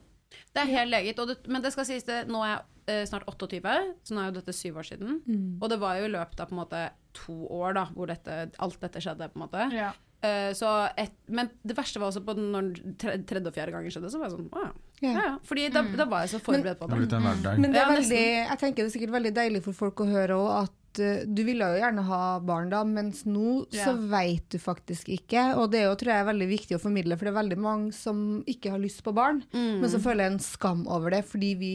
Det er helt leget. Og det, men det skal sies det, nå er jeg eh, snart 28, så nå er jo dette syv år siden. Hm. Og det var jo i løpet av på en måte to år da, hvor dette, alt dette skjedde. på en måte. Ja. Eh, så et, men det verste var også på den- når den tre- tredje og fjerde gangen skjedde, så var jeg sånn Å ja. Ja. ja, ja. Fordi da, Hm. da var jeg så forberedt på Det det. har blitt en hverdag. Men det er Ja, veldig, jeg tenker det er sikkert veldig deilig for folk å høre òg at eh, du ville jo gjerne ha barn da, mens nå så veit du faktisk ikke. Og det er jo, tror jeg, veldig viktig å formidle, for det er veldig mange som ikke har lyst på barn, Mm. men som føler en skam over det, fordi vi,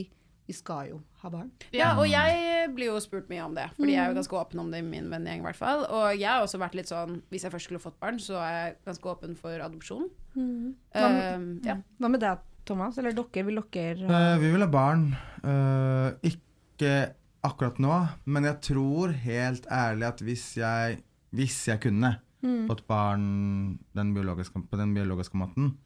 vi skal jo ha barn. Ja, og jeg eh, blir jo spurt mye om det, fordi jeg er jo ganske åpen om det i min vennegjeng. i hvert fall. Og jeg har også vært litt sånn Hvis jeg først skulle fått barn, så er jeg ganske åpen for adopsjon. Eh, ja. Hva med deg, Thomas? Eller dere? Vil dere ha Eh, vi vil ha barn. Eh, ikke akkurat nå, men jeg tror helt ærlig at hvis jeg hvis jeg kunne, fått barn den biologiske, på den biologiske måten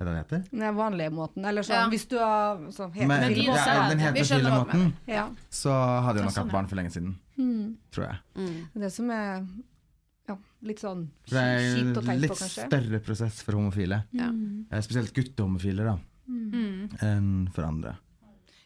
Er det det heter? Den vanlige måten. Eller sånn, Ja. hvis du har sånn helt Men- de ja, også er- den vi heter skjønner hva du filemåten. Ja. Så hadde jeg Ja, nok sånn, hatt ja. barn for lenge siden. Tror jeg. Det som er ja, litt sånn For det kjipt å er en tenke litt på, kanskje. større prosess for homofile. Eh, Spesielt guttehomofile, da. Enn for andre.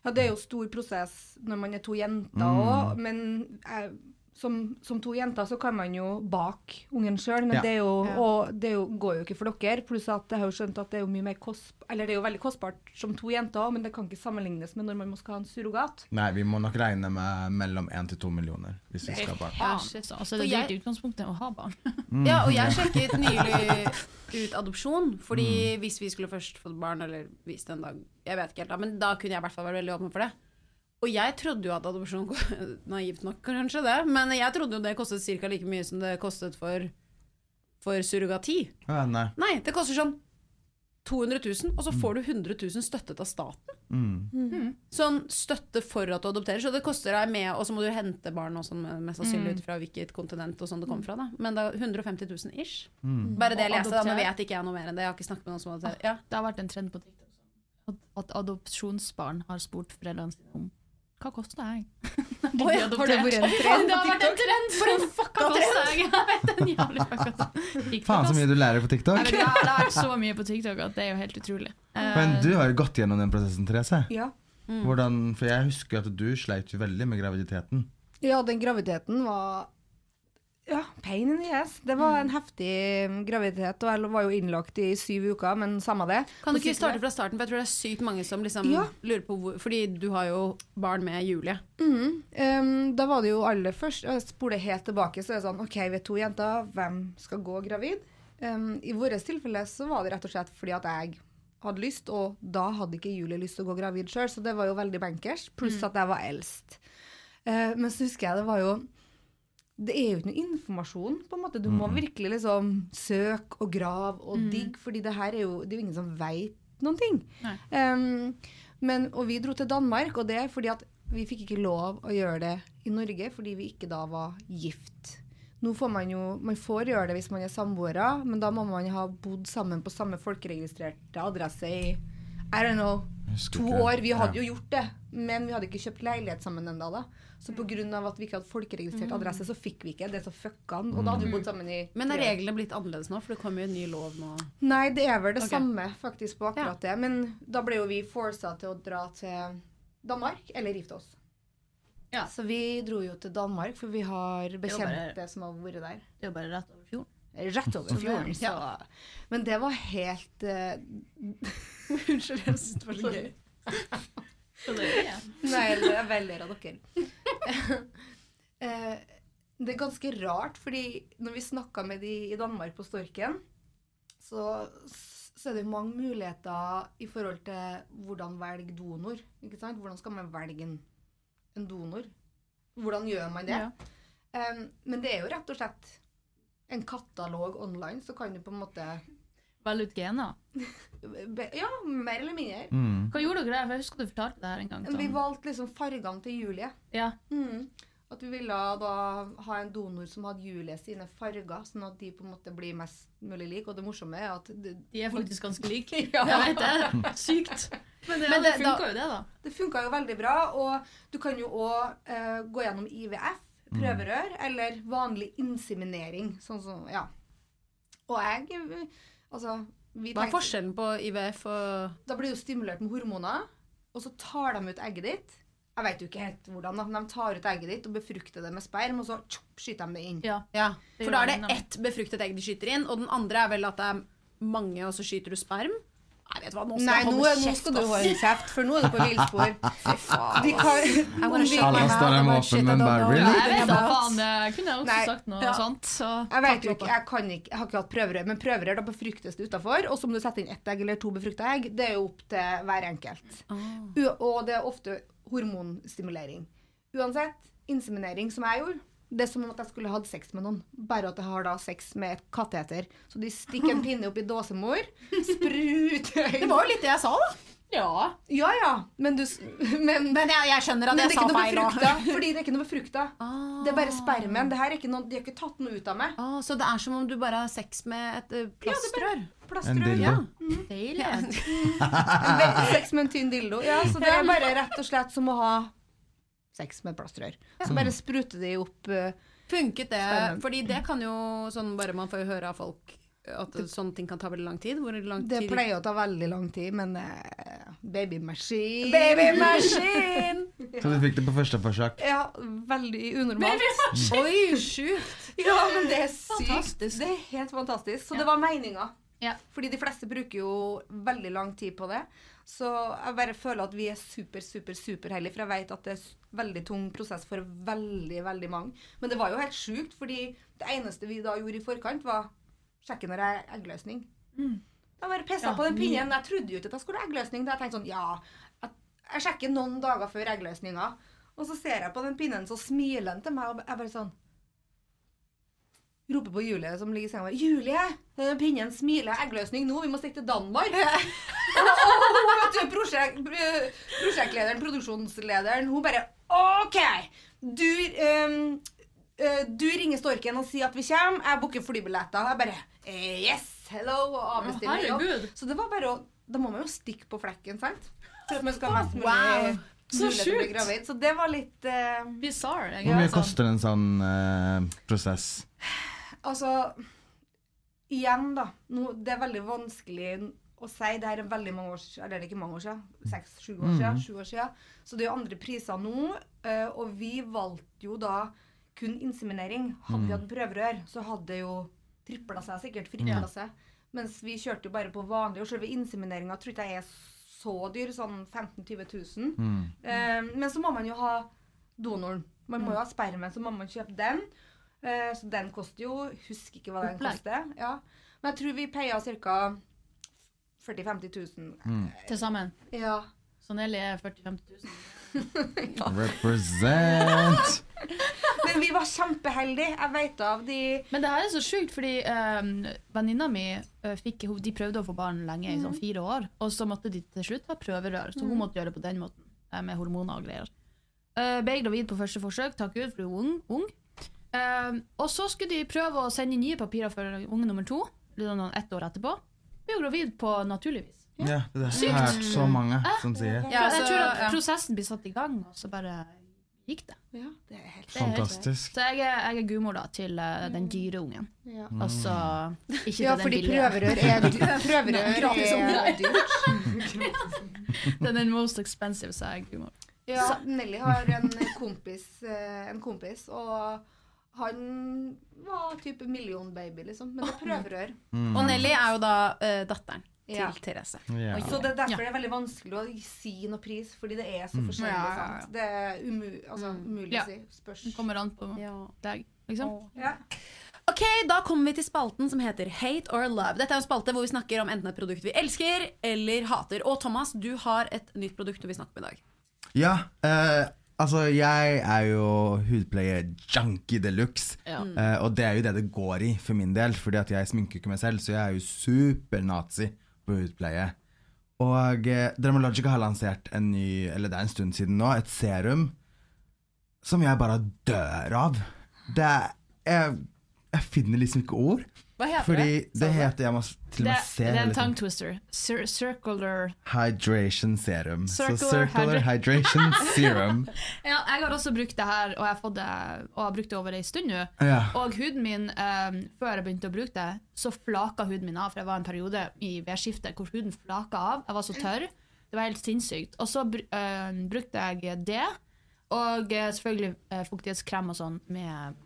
Ja, det er jo stor prosess når man er to jenter Mm. òg, men eh, som, som to jenter så kan man jo bake ungen sjøl, men Ja. det, er jo, og det er jo, går jo ikke for dere. Pluss at jeg har jo skjønt at det er jo mye mer kosp... Eller det er jo veldig kostbart som to jenter òg, men det kan ikke sammenlignes med når man må skal ha en surrogat. Nei, vi må nok regne med mellom én til to millioner hvis vi skal ha barn. Ja, shit, så- altså, det er For jeg- dyrt i utgangspunktet å ha barn. Ja, og jeg sjekket nylig ut adopsjon, fordi hvis vi skulle først fått barn, eller hvis det en dag Jeg vet ikke helt, da, men da kunne jeg i hvert fall vært veldig åpen for det. Og jeg trodde jo at adopsjon Naivt nok, kanskje det, men jeg trodde jo det kostet ca. like mye som det kostet for, for surrogati. Ja, nei. Nei, det koster sånn 200 000, og så får du 100 000 støttet av staten. Mm. Sånn støtte for at du adopterer. Så det koster deg med, og så må du hente barn og sånn, mest sannsynlig ut fra hvilket kontinent og sånn det kommer fra. da. Men det er 150 000 ish. Mm. Bare det jeg Og leste, da. Nå adoptere. vet ikke jeg noe mer enn det. Jeg har ikke snakket med noen som adopterer. Ja. Det har vært en trend på TikTok sånn, at- at adopsjonsbarn har spurt foreldrene sine om hva koster jeg? Å ja, har det vært en trend det har vært en trend! For en fucka trend! Jeg Jeg vet en jævlig fucka trend. TikTok, Faen så ass. mye du lærer på Jeg TikTok. vet, jeg har lært så mye på TikTok at det er jo helt utrolig. Eh, Men du har jo gått gjennom den prosessen, Therese. Ja. Mm. Hvordan, for jeg husker at du sleit jo veldig med graviditeten. Ja, den graviditeten var ja, pain in the ass. Det Mm. var en heftig mm, graviditet, og jeg var jo innlagt i syv uker, men samme det. Kan du ikke På starte fra starten, for jeg tror det er sykt mange som liksom Ja. lurer på hvor Fordi du har jo barn med Julie. Um, da var det jo aller først Jeg spoler helt tilbake, så er det sånn OK, vi er to jenter, hvem skal gå gravid? Um, I vårt tilfelle så var det rett og slett fordi at jeg hadde lyst, og da hadde ikke Julie lyst til å gå gravid sjøl, så det var jo veldig bankers. Pluss Mm. at jeg var eldst. Eh, men så husker jeg det var jo Det er jo ikke noe informasjon, på en måte. Du må virkelig liksom søke og grave og digge, fordi det her er jo Det er jo ingen som veit noen ting. Um, men, og vi dro til Danmark, og det er fordi at vi fikk ikke lov å gjøre det i Norge fordi vi ikke da var gift. Nå får man jo Man får gjøre det hvis man er samboere, men da må man ha bodd sammen på samme folkeregistrerte adresse i I don't know, Jeg husker to ikke. år. Vi hadde Ja. jo gjort det, men vi hadde ikke kjøpt leilighet sammen ennå. da. Så pga. at vi ikke hadde folkeregistrert adresse, så fikk vi ikke det. Så fucka han. Og da Mm. hadde vi bodd sammen i Mm. Men tre er år. reglene blitt annerledes nå? For det kommer jo en ny lov nå. Nei, det er vel det Ok. samme faktisk på akkurat det. Men da ble jo vi forsa til å dra til Danmark, eller gifte oss. Ja. Så vi dro jo til Danmark, for vi har bare- bekjente som har vært der. det er jo bare rett over fjorden. Rett over fjorden. Så. Men det var helt eh, Unnskyld, jeg syns det var så gøy. Nei, det er veldig av dere. Eh, det er ganske rart, fordi når vi snakka med de i Danmark på Storken, så, så er det mange muligheter i forhold til hvordan velge donor. Ikke sant? Hvordan skal man velge en, en donor? Hvordan gjør man det? Eh, men det er jo rett og slett en katalog online, så kan du på en måte Velge ut gener. be- Ja, mer eller mindre. Mm. Hva gjorde dere der? For Jeg husker du fortalte det her en gang. Vi Sånn. valgte liksom fargene til Julie. Ja. Mm. At vi ville da ha en donor som hadde Julie sine farger, sånn at de på en måte blir mest mulig like. Og det morsomme er at det, De er faktisk ganske like. Jeg vet det. Sykt. Men det, det Men det- da- funka jo, det, da. det funka jo veldig bra. Og du kan jo òg eh, gå gjennom IVF, prøverør, eller vanlig inseminering. Sånn som Ja. Og jeg eh, Altså, vi Hva er tenkte- forskjellen på IVF og Da blir du stimulert med hormoner, og så tar de ut egget ditt. Jeg veit jo ikke helt hvordan, da, men de tar ut egget ditt og befrukter det med sperm, og så tjopp, skyter de det inn. Ja. Ja, Det for gjør da er den, det da. ett befruktet egg de skyter inn, og den andre er vel at det er mange, og så skyter du sperm? Nei, vet du hva, nå skal Nei, jeg nå, holde nå kjeft, skal du ass. holde kjeft, for nå er du på villspor. Fy faen. De kan, om vi, Alle står der med åpen munn, bare really? Jeg vet da faen. Jeg kunne også Nei. sagt noe sånt. Så jeg vet jo ikke, jeg kan ikke, jeg har ikke hatt prøverør, men prøverør da befruktes det utafor. Og så om du setter inn ett egg eller to befrukta egg, det er jo opp til hver enkelt. Ah. U- Og det er ofte hormonstimulering. Uansett, inseminering som jeg gjorde, Det er som om at jeg skulle hatt sex med noen, bare at jeg har da sex med et katteter. Så de stikker en pinne opp i dåsemor, spruter Det var jo litt det jeg sa, da. Ja. Ja ja, men du s- Men, men Men jeg, jeg skjønner at det jeg er sa ikke noe feil Ah. befrukta. òg. Fordi det er ikke noe befrukta. Det er bare spermen. Det her er ikke noe, de har ikke tatt noe ut av meg. Ah, så det er som om du bare har sex med et eh, plastrør? En Plastrør. dildo. Ja. Deilig. En veldig sex med en tynn dildo. Ja, så det er bare rett og slett som å ha sex med plastrør. Så bare spruter de opp eh, Funket det? Spennende. Fordi det kan jo sånn bare Man får jo høre av folk at sånne ting kan ta veldig lang tid. Hvor lang Det tid pleier å ta veldig lang tid, men eh, babymaskin Babymaskin! Så du fikk det på første forsøk. Ja, veldig unormalt. Oi, sjukt! Ja, men det er sykt. Fantastisk. Det er helt fantastisk. Så det var meninga. Ja. Fordi de fleste bruker jo veldig lang tid på det. Så jeg bare føler at vi er super, super, superheldige, for jeg vet at det er s- veldig tung prosess for veldig, veldig mange. Men det var jo helt sjukt, fordi det eneste vi da gjorde i forkant, var sjekke når jeg er eggløsning. Jeg bare pissa på den pinnen. Jeg trodde jo ikke at jeg skulle ha eggløsning. Da jeg tenkte sånn, ja, jeg, jeg sjekker noen dager før eggløsninga. Og så ser jeg på den pinnen, så smiler han til meg, og jeg bare sånn roper på Julie som ligger i senga og bare, 'Julie, denne pinnen smiler eggløsning nå, vi må stikke til Danmark'. og og hun, vet du, prosjekt, eh, prosjektlederen, produksjonslederen, hun bare 'OK, du, ehm, eh, du ringer storken og sier at vi kommer, jeg booker flybilletter'. Jeg bare eh, 'Yes, hello', og avbestiller jobb. herregud. Så det var bare å Da må man jo stikke på flekken, sant? For at man skal ha mest mulig mulighet til å bli sjukt. gravid. Så det var litt eh, Bizarre. egentlig, Hvor mye sånn. koster en sånn eh, prosess? Altså, igjen da, nå, det er veldig vanskelig å si, det her er veldig mange år siden, eller det er ikke mange år siden, seks, sju år siden, sju år siden, så det er jo andre priser nå, eh, og vi valgte jo da kun inseminering. Hadde vi hatt prøverør, så hadde det jo tripla seg sikkert, fripla seg, mens vi kjørte jo bare på vanlig, og selve insemineringen tror ikke jeg er så dyr, sånn 15-20 000. Eh, men så må man jo ha donoren. Man må jo ha spermen, så må man kjøpe den. Eh, så den koster jo Husker ikke hva den Opplegg. koster. Ja. Men jeg tror vi paya ca. 40 000-50 000. Til sammen. Ja. Så Nelly er 45 000. Represent! Men vi var kjempeheldige. Jeg veit av de Men det her er så sjukt, fordi um, venninna mi eh, fikk, hun, de prøvde å få barn lenge, i sånn Mhm. fire år. Og så måtte de til slutt ha prøverør, så hun måtte gjøre det på den måten. eh, Med hormoner og greier. Uh, ble gravid på første forsøk, takk Gud, for hun var ung. ung. Eh, og så skulle de prøve å sende nye papirer for unge nummer to. Litt sånn ett år etterpå. Ble hun gravid på naturlig vis. Ja, det har jeg hørt så mange som sier. Ja, jeg så- tror at ja. prosessen blir satt i gang, og så bare gikk det. Ja, det er helt er helt Fantastisk. Så jeg er, jeg er gudmor da, til eh, den dyre ungen. Ja. Mm. Altså ikke til Ja, den fordi billige. prøverør er prøverør er dyrt. Den er most expensive, sa jeg gudmor. Ja, Nelly har en kompis, eh, en kompis, og han var type millionbaby, liksom. Men det er prøverør. Og Nelly er jo da eh, datteren til Ja. Therese. Ja. Så det er derfor det er veldig vanskelig å si noe pris, fordi det er så Mm. forskjellig. Ja, ja, ja. Sant? Det er umu altså, umulig Ja. å si. Spørs. Den kommer an på deg, liksom. Ja. Ok, Da kommer vi til spalten som heter Hate or love. Dette er en spalte hvor vi snakker om enten et produkt vi elsker eller hater. Og Thomas, du har et nytt produkt du vil snakke om i dag. Ja, eh, altså jeg er jo hudpleie-junkie de luxe. Mm. Eh, og det er jo det det går i for min del, fordi at jeg sminker ikke meg selv, så jeg er jo supernazi på hudpleie. Og eh, Dermalogica har lansert en ny, eller det er en stund siden nå, et serum som jeg bare dør av. Det er Jeg, jeg finner liksom ikke ord. Hva heter Fordi det? det heter Jeg må s- til Det, og med se det er en liksom. tongue twister. Cir circular Hydration serum. Circular så circular hydration serum. Ja, jeg har også brukt det her, og jeg har, fått det, og jeg har brukt det over ei stund nå. Ja. Og huden min, eh, før jeg begynte å bruke det, så flaka huden min av. For det var en periode i vedskiftet hvor huden flaka av. Jeg var så tørr. Det var helt sinnssykt. Og så br eh, brukte jeg det, og eh, selvfølgelig eh, fuktighetskrem og sånn med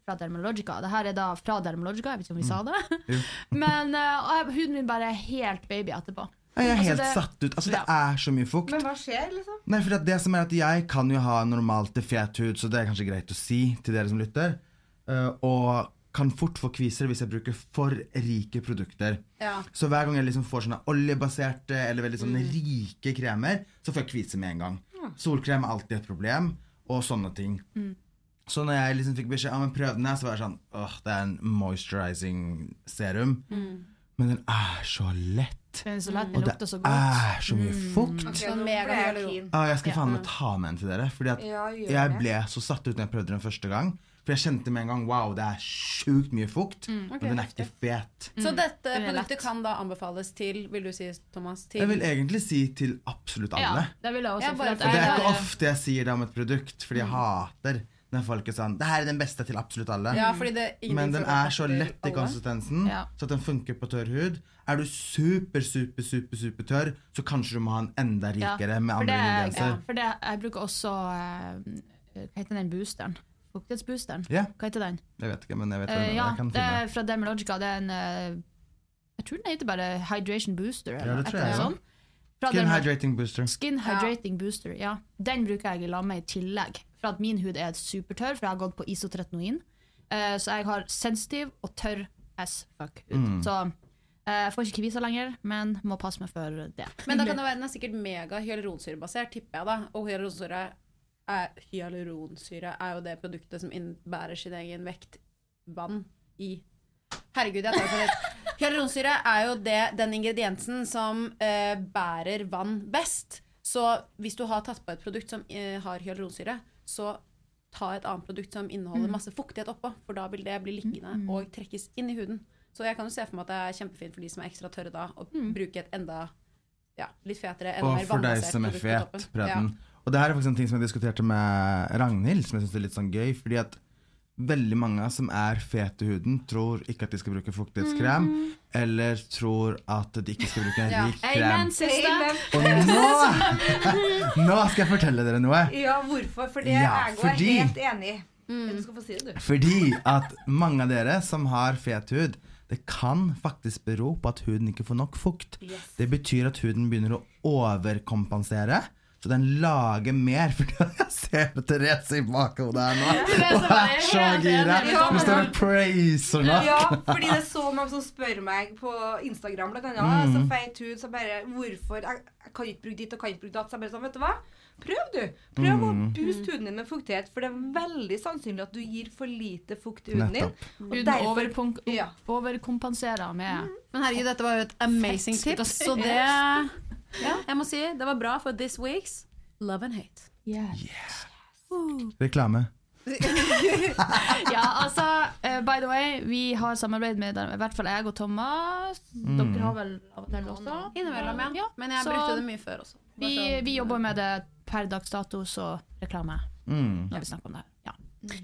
fra Dermalogica. Det her er da fra Dermalogica, jeg vet ikke om vi Mm. sa det. Men eh, og jeg- huden min bare er helt baby etterpå. Jeg er Altså, helt det- satt ut. Altså, det Ja. er så mye fukt. Men hva skjer, liksom? Nei, for det som er at Jeg kan jo ha normalt til fet hud, så det er kanskje greit å si til dere som lytter. Eh, og kan fort få kviser hvis jeg bruker for rike produkter. Ja. Så hver gang jeg liksom får sånne oljebaserte eller veldig sånne Mm. rike Mm. kremer, så får jeg kviser med en gang. Solkrem er alltid et problem, og sånne ting. Så når jeg liksom fikk beskjed om å prøve den, her, så var jeg sånn Åh, det er en moisturizing serum. Mm. Men den er så lett. Den er så lett, den Og det lukter så godt. er så mye fukt. Ja, nå mega ble jeg dårlig keen. Ah, jeg skal faen meg ta med en til dere. Fordi at Ja, gjør jeg det. ble så satt ut når jeg prøvde den første gang. For jeg kjente med en gang wow, det er sjukt mye fukt, men den er ikke fet. Så dette Den er lett. produktet kan da anbefales til, vil du si, Thomas? Til Jeg vil egentlig si til absolutt alle. Ja, det vil jeg også. Ja, for bare at for Og det jeg er ikke har- ofte jeg sier det om et produkt, fordi jeg hater når folk er sånn Det her er den beste til absolutt alle. Ja, fordi det ingenting Men den funker er så til lett i alle. konsistensen, Ja. så at den funker på tørr hud. Er du super, super, super, super tørr, så kanskje du må ha en enda Ja, rikere med for andre det- ingredienser. Ja, for det, jeg bruker også eh, Hva heter den boosteren? Fuktighetsboosteren? Ja. Hva heter den? Jeg vet ikke, men jeg vet hva Eh, det er. ja, Jeg kan det finne. er fra Dermalogica. Det er en eh, Jeg tror den heter bare Hydration Booster. Ja, et det tror jeg, eller ja. annet sånt. Fra Skin Derma- hydrating booster. Skin Hydrating Booster, ja. Den bruker jeg i lag med i tillegg. For at min hud er supertørr, for jeg har gått på isotretinoin. Eh, så jeg har sensitiv og tørr as fuck hud. Mm. Så eh, jeg får ikke kviser lenger, men må passe meg for det. Men da kan det være den er sikkert mega hyaluronsyrebasert, tipper jeg da. Og hyaluronsyre er, hyaluronsyre er jo det produktet som innebærer sin egen vekt vann i. Herregud, jeg tar det på litt. Hyaluronsyre er jo det, den ingrediensen som eh, bærer vann best. Så hvis du har tatt på et produkt som eh, har hyaluronsyre, så ta et annet produkt som inneholder masse fuktighet oppå, for da vil det bli liggende og trekkes inn i huden. Så jeg kan jo se for meg at det er kjempefint for de som er ekstra tørre da, å bruke et enda ja, litt fetere, enda Og mer for deg vannbasert som er produkt på fet, toppen. prøv den. Og det her er faktisk en ting som jeg diskuterte med Ragnhild, som jeg synes er litt sånn gøy. Fordi at veldig mange som er fete i huden, tror ikke at de skal bruke fuktighetskrem, Mm. eller tror at de ikke skal bruke en Ja. rik krem. søster! Og nå, nå skal jeg fortelle dere noe. Ja, hvorfor? For det er Ja, jeg fordi- er helt enig i. Du skal få si det, du. Fordi at mange av dere som har fet hud, det kan faktisk bero på at huden ikke får nok fukt. Det betyr at huden begynner å overkompensere. Så den lager mer, for jeg ser Therese i bakhodet her nå. Therese Og bare er helt så enig. gira. Ja, Hun står og praiser nå. Ja, fordi det er så mange som spør meg på Instagram blant annet. Mm. «Ah, Så feit hud, så bare Hvorfor? Jeg, jeg kan ikke bruke ditt og kan ikke bruke datt. Så jeg bare sånn, vet du hva? Prøv, du. Prøv Mm. å booste huden din med fuktighet, for det er veldig sannsynlig at du gir for lite fukt i huden din. Nettopp. og Huden derfor- overpunk- Ja. overkompenserer med Men herregud, dette var jo et amazing tips. Så det ja, jeg må si, det var bra for this week's Love and Hate. Reklame. Ja, altså, eh, by the way, vi har samarbeid med i hvert fall jeg og Thomas. Dere har vel av og til også? Innimellom, ja. Men jeg så brukte det mye før også. Vi, vi jobber med det per dags dato, så reklame Mm. når vi snakker om det. her. Ja.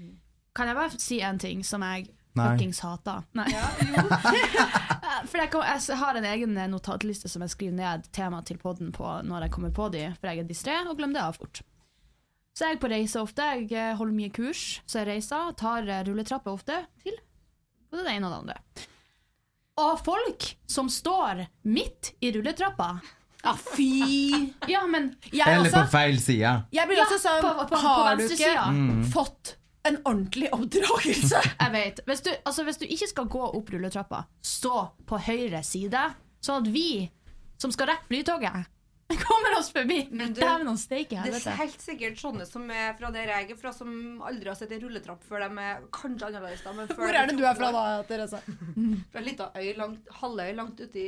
Kan jeg bare si en ting som jeg Nei. fuckings hater? Nei. for jeg, kom, jeg s- har en egen eh, notatliste som jeg skriver ned tema til podden på når jeg kommer på de, for jeg er distré og glemmer det av fort. Så jeg er på reise ofte. Jeg eh, holder mye kurs, så jeg reiser, tar eh, rulletrapper ofte til både det ene og det andre. Og folk som står midt i rulletrappa Ja, Ah, fy! Ja, men Jeg Eller også. på feil side. Jeg blir Ja, også sånn på- på- på Har du ikke Mm. venstresida. fått en ordentlig oppdragelse? Jeg vet. Hvis du, altså, hvis du ikke skal gå opp rulletrappa, stå på høyre side, sånn at vi som skal rekke flytoget, kommer oss forbi. Men du, Dæven noen steike Det er helvete. helt sikkert sånne som er fra der jeg er fra, som aldri har sett en rulletrapp før de er kanskje annerledes. da, men før Hvor de er det du er fra da, Therese? Fra en liten øy langt, halvøy langt uti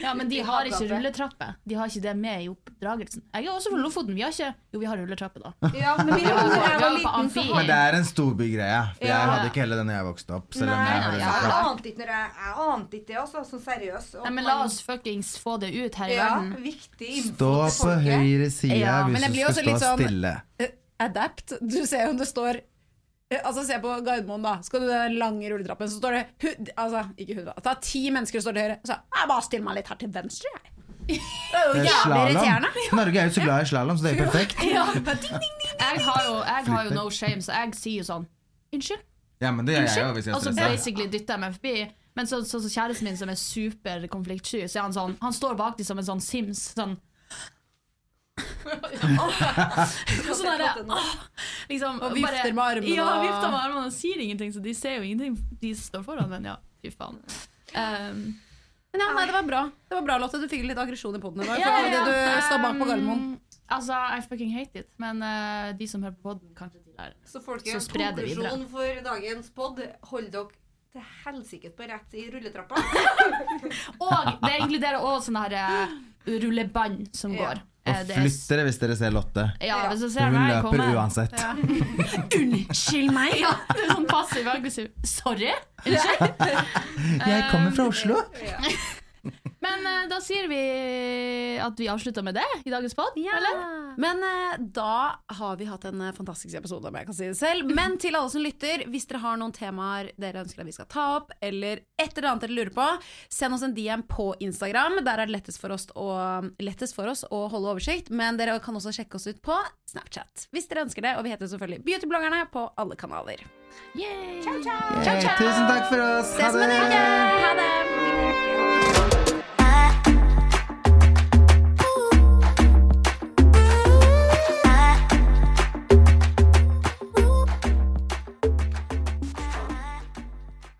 Ja, men de uti har ikke havgapet. rulletrappe. De har ikke det med i oppdragelsen. Jeg er også fra Lofoten. Vi har ikke Jo, vi har rulletrappe, da. Ja, men vi, var på- når jeg var vi var på liten, så amfi. Men det er en storbygreie. for Jeg Ja. hadde ikke heller det når jeg vokste opp. Selv om Nei, nei, jeg har jeg, rulletrapp. ante ikke når jeg, jeg ante ikke det, altså. Sånn seriøst. Og Nei, men la man- oss fuckings få det ut her i ja, verden. viktig info Stå til på folket. høyre side Ja, men hvis jeg du blir skal også stå litt sånn- stille. Eh, Adapt. Du ser jo om det står eh, Altså, Se på Gardermoen, da. Skal du den lange rulletrappen, så står det hud, altså, ikke hud, da. Det er ti mennesker som står til høyre. Så jeg bare stiller meg litt her til venstre, jeg. Det er jo Det jævlig er Eh, slalom. irriterende. Norge er jo så glad i slalåm, så det er jo perfekt. Ja, bare ding, ding, ding. Jeg har jo, jeg har jo no shame, så jeg sier jo sånn Unnskyld? Ja, men det gjør jeg jo hvis Unnskyld? jeg Og så Altså, er stressa. basically dytter jeg meg forbi. Men så, så, så kjæresten min, som er super konfliktsky, så er han sånn Han står bak dem som en sånn Sims. Sånn Og sånn der, åh, liksom, Og vifter bare- med armene Ja, og- vifter med armene og sier ingenting, så de ser jo ingenting, de som står foran. Men ja, fy faen. Um, Men ja, nei, det var bra. Det var bra, Lotte. Du fikk litt aggresjon i poden i dag. Ja, for ja, ja. Det du står bak på Gardermoen. Um, Altså, I fucking hate it. Men eh, de som hører på podden kanskje de lærer. Så Så folkens, spre det videre. konklusjon for dagens pod, hold dere til helsike på rett i rulletrappa. Og det inkluderer også sånne her eh, rullebånd som Ja. går. Eh, Og det er flytt dere hvis dere ser Lotte. Ja, hvis du For ser hun meg løper komme uansett. Unnskyld meg! Ja, det er sånn passiv aggressiv. Sorry. Unnskyld. Jeg kommer fra Oslo. Men eh, da sier vi at vi avslutter med det i dagens pod, eller? Men eh, da har vi hatt en eh, fantastisk episode, om jeg kan si det selv. Men til alle som lytter, hvis dere har noen temaer dere ønsker at vi skal ta opp, eller et eller annet dere lurer på, send oss en DM på Instagram. Der er det lettest for oss å, lettest for oss å holde oversikt. Men dere kan også sjekke oss ut på Snapchat hvis dere ønsker det. Og vi heter selvfølgelig Beautybloggerne på alle kanaler. Yay. Hey, tusen takk for oss. Ses om en uke! Ha det!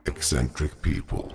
eccentric people.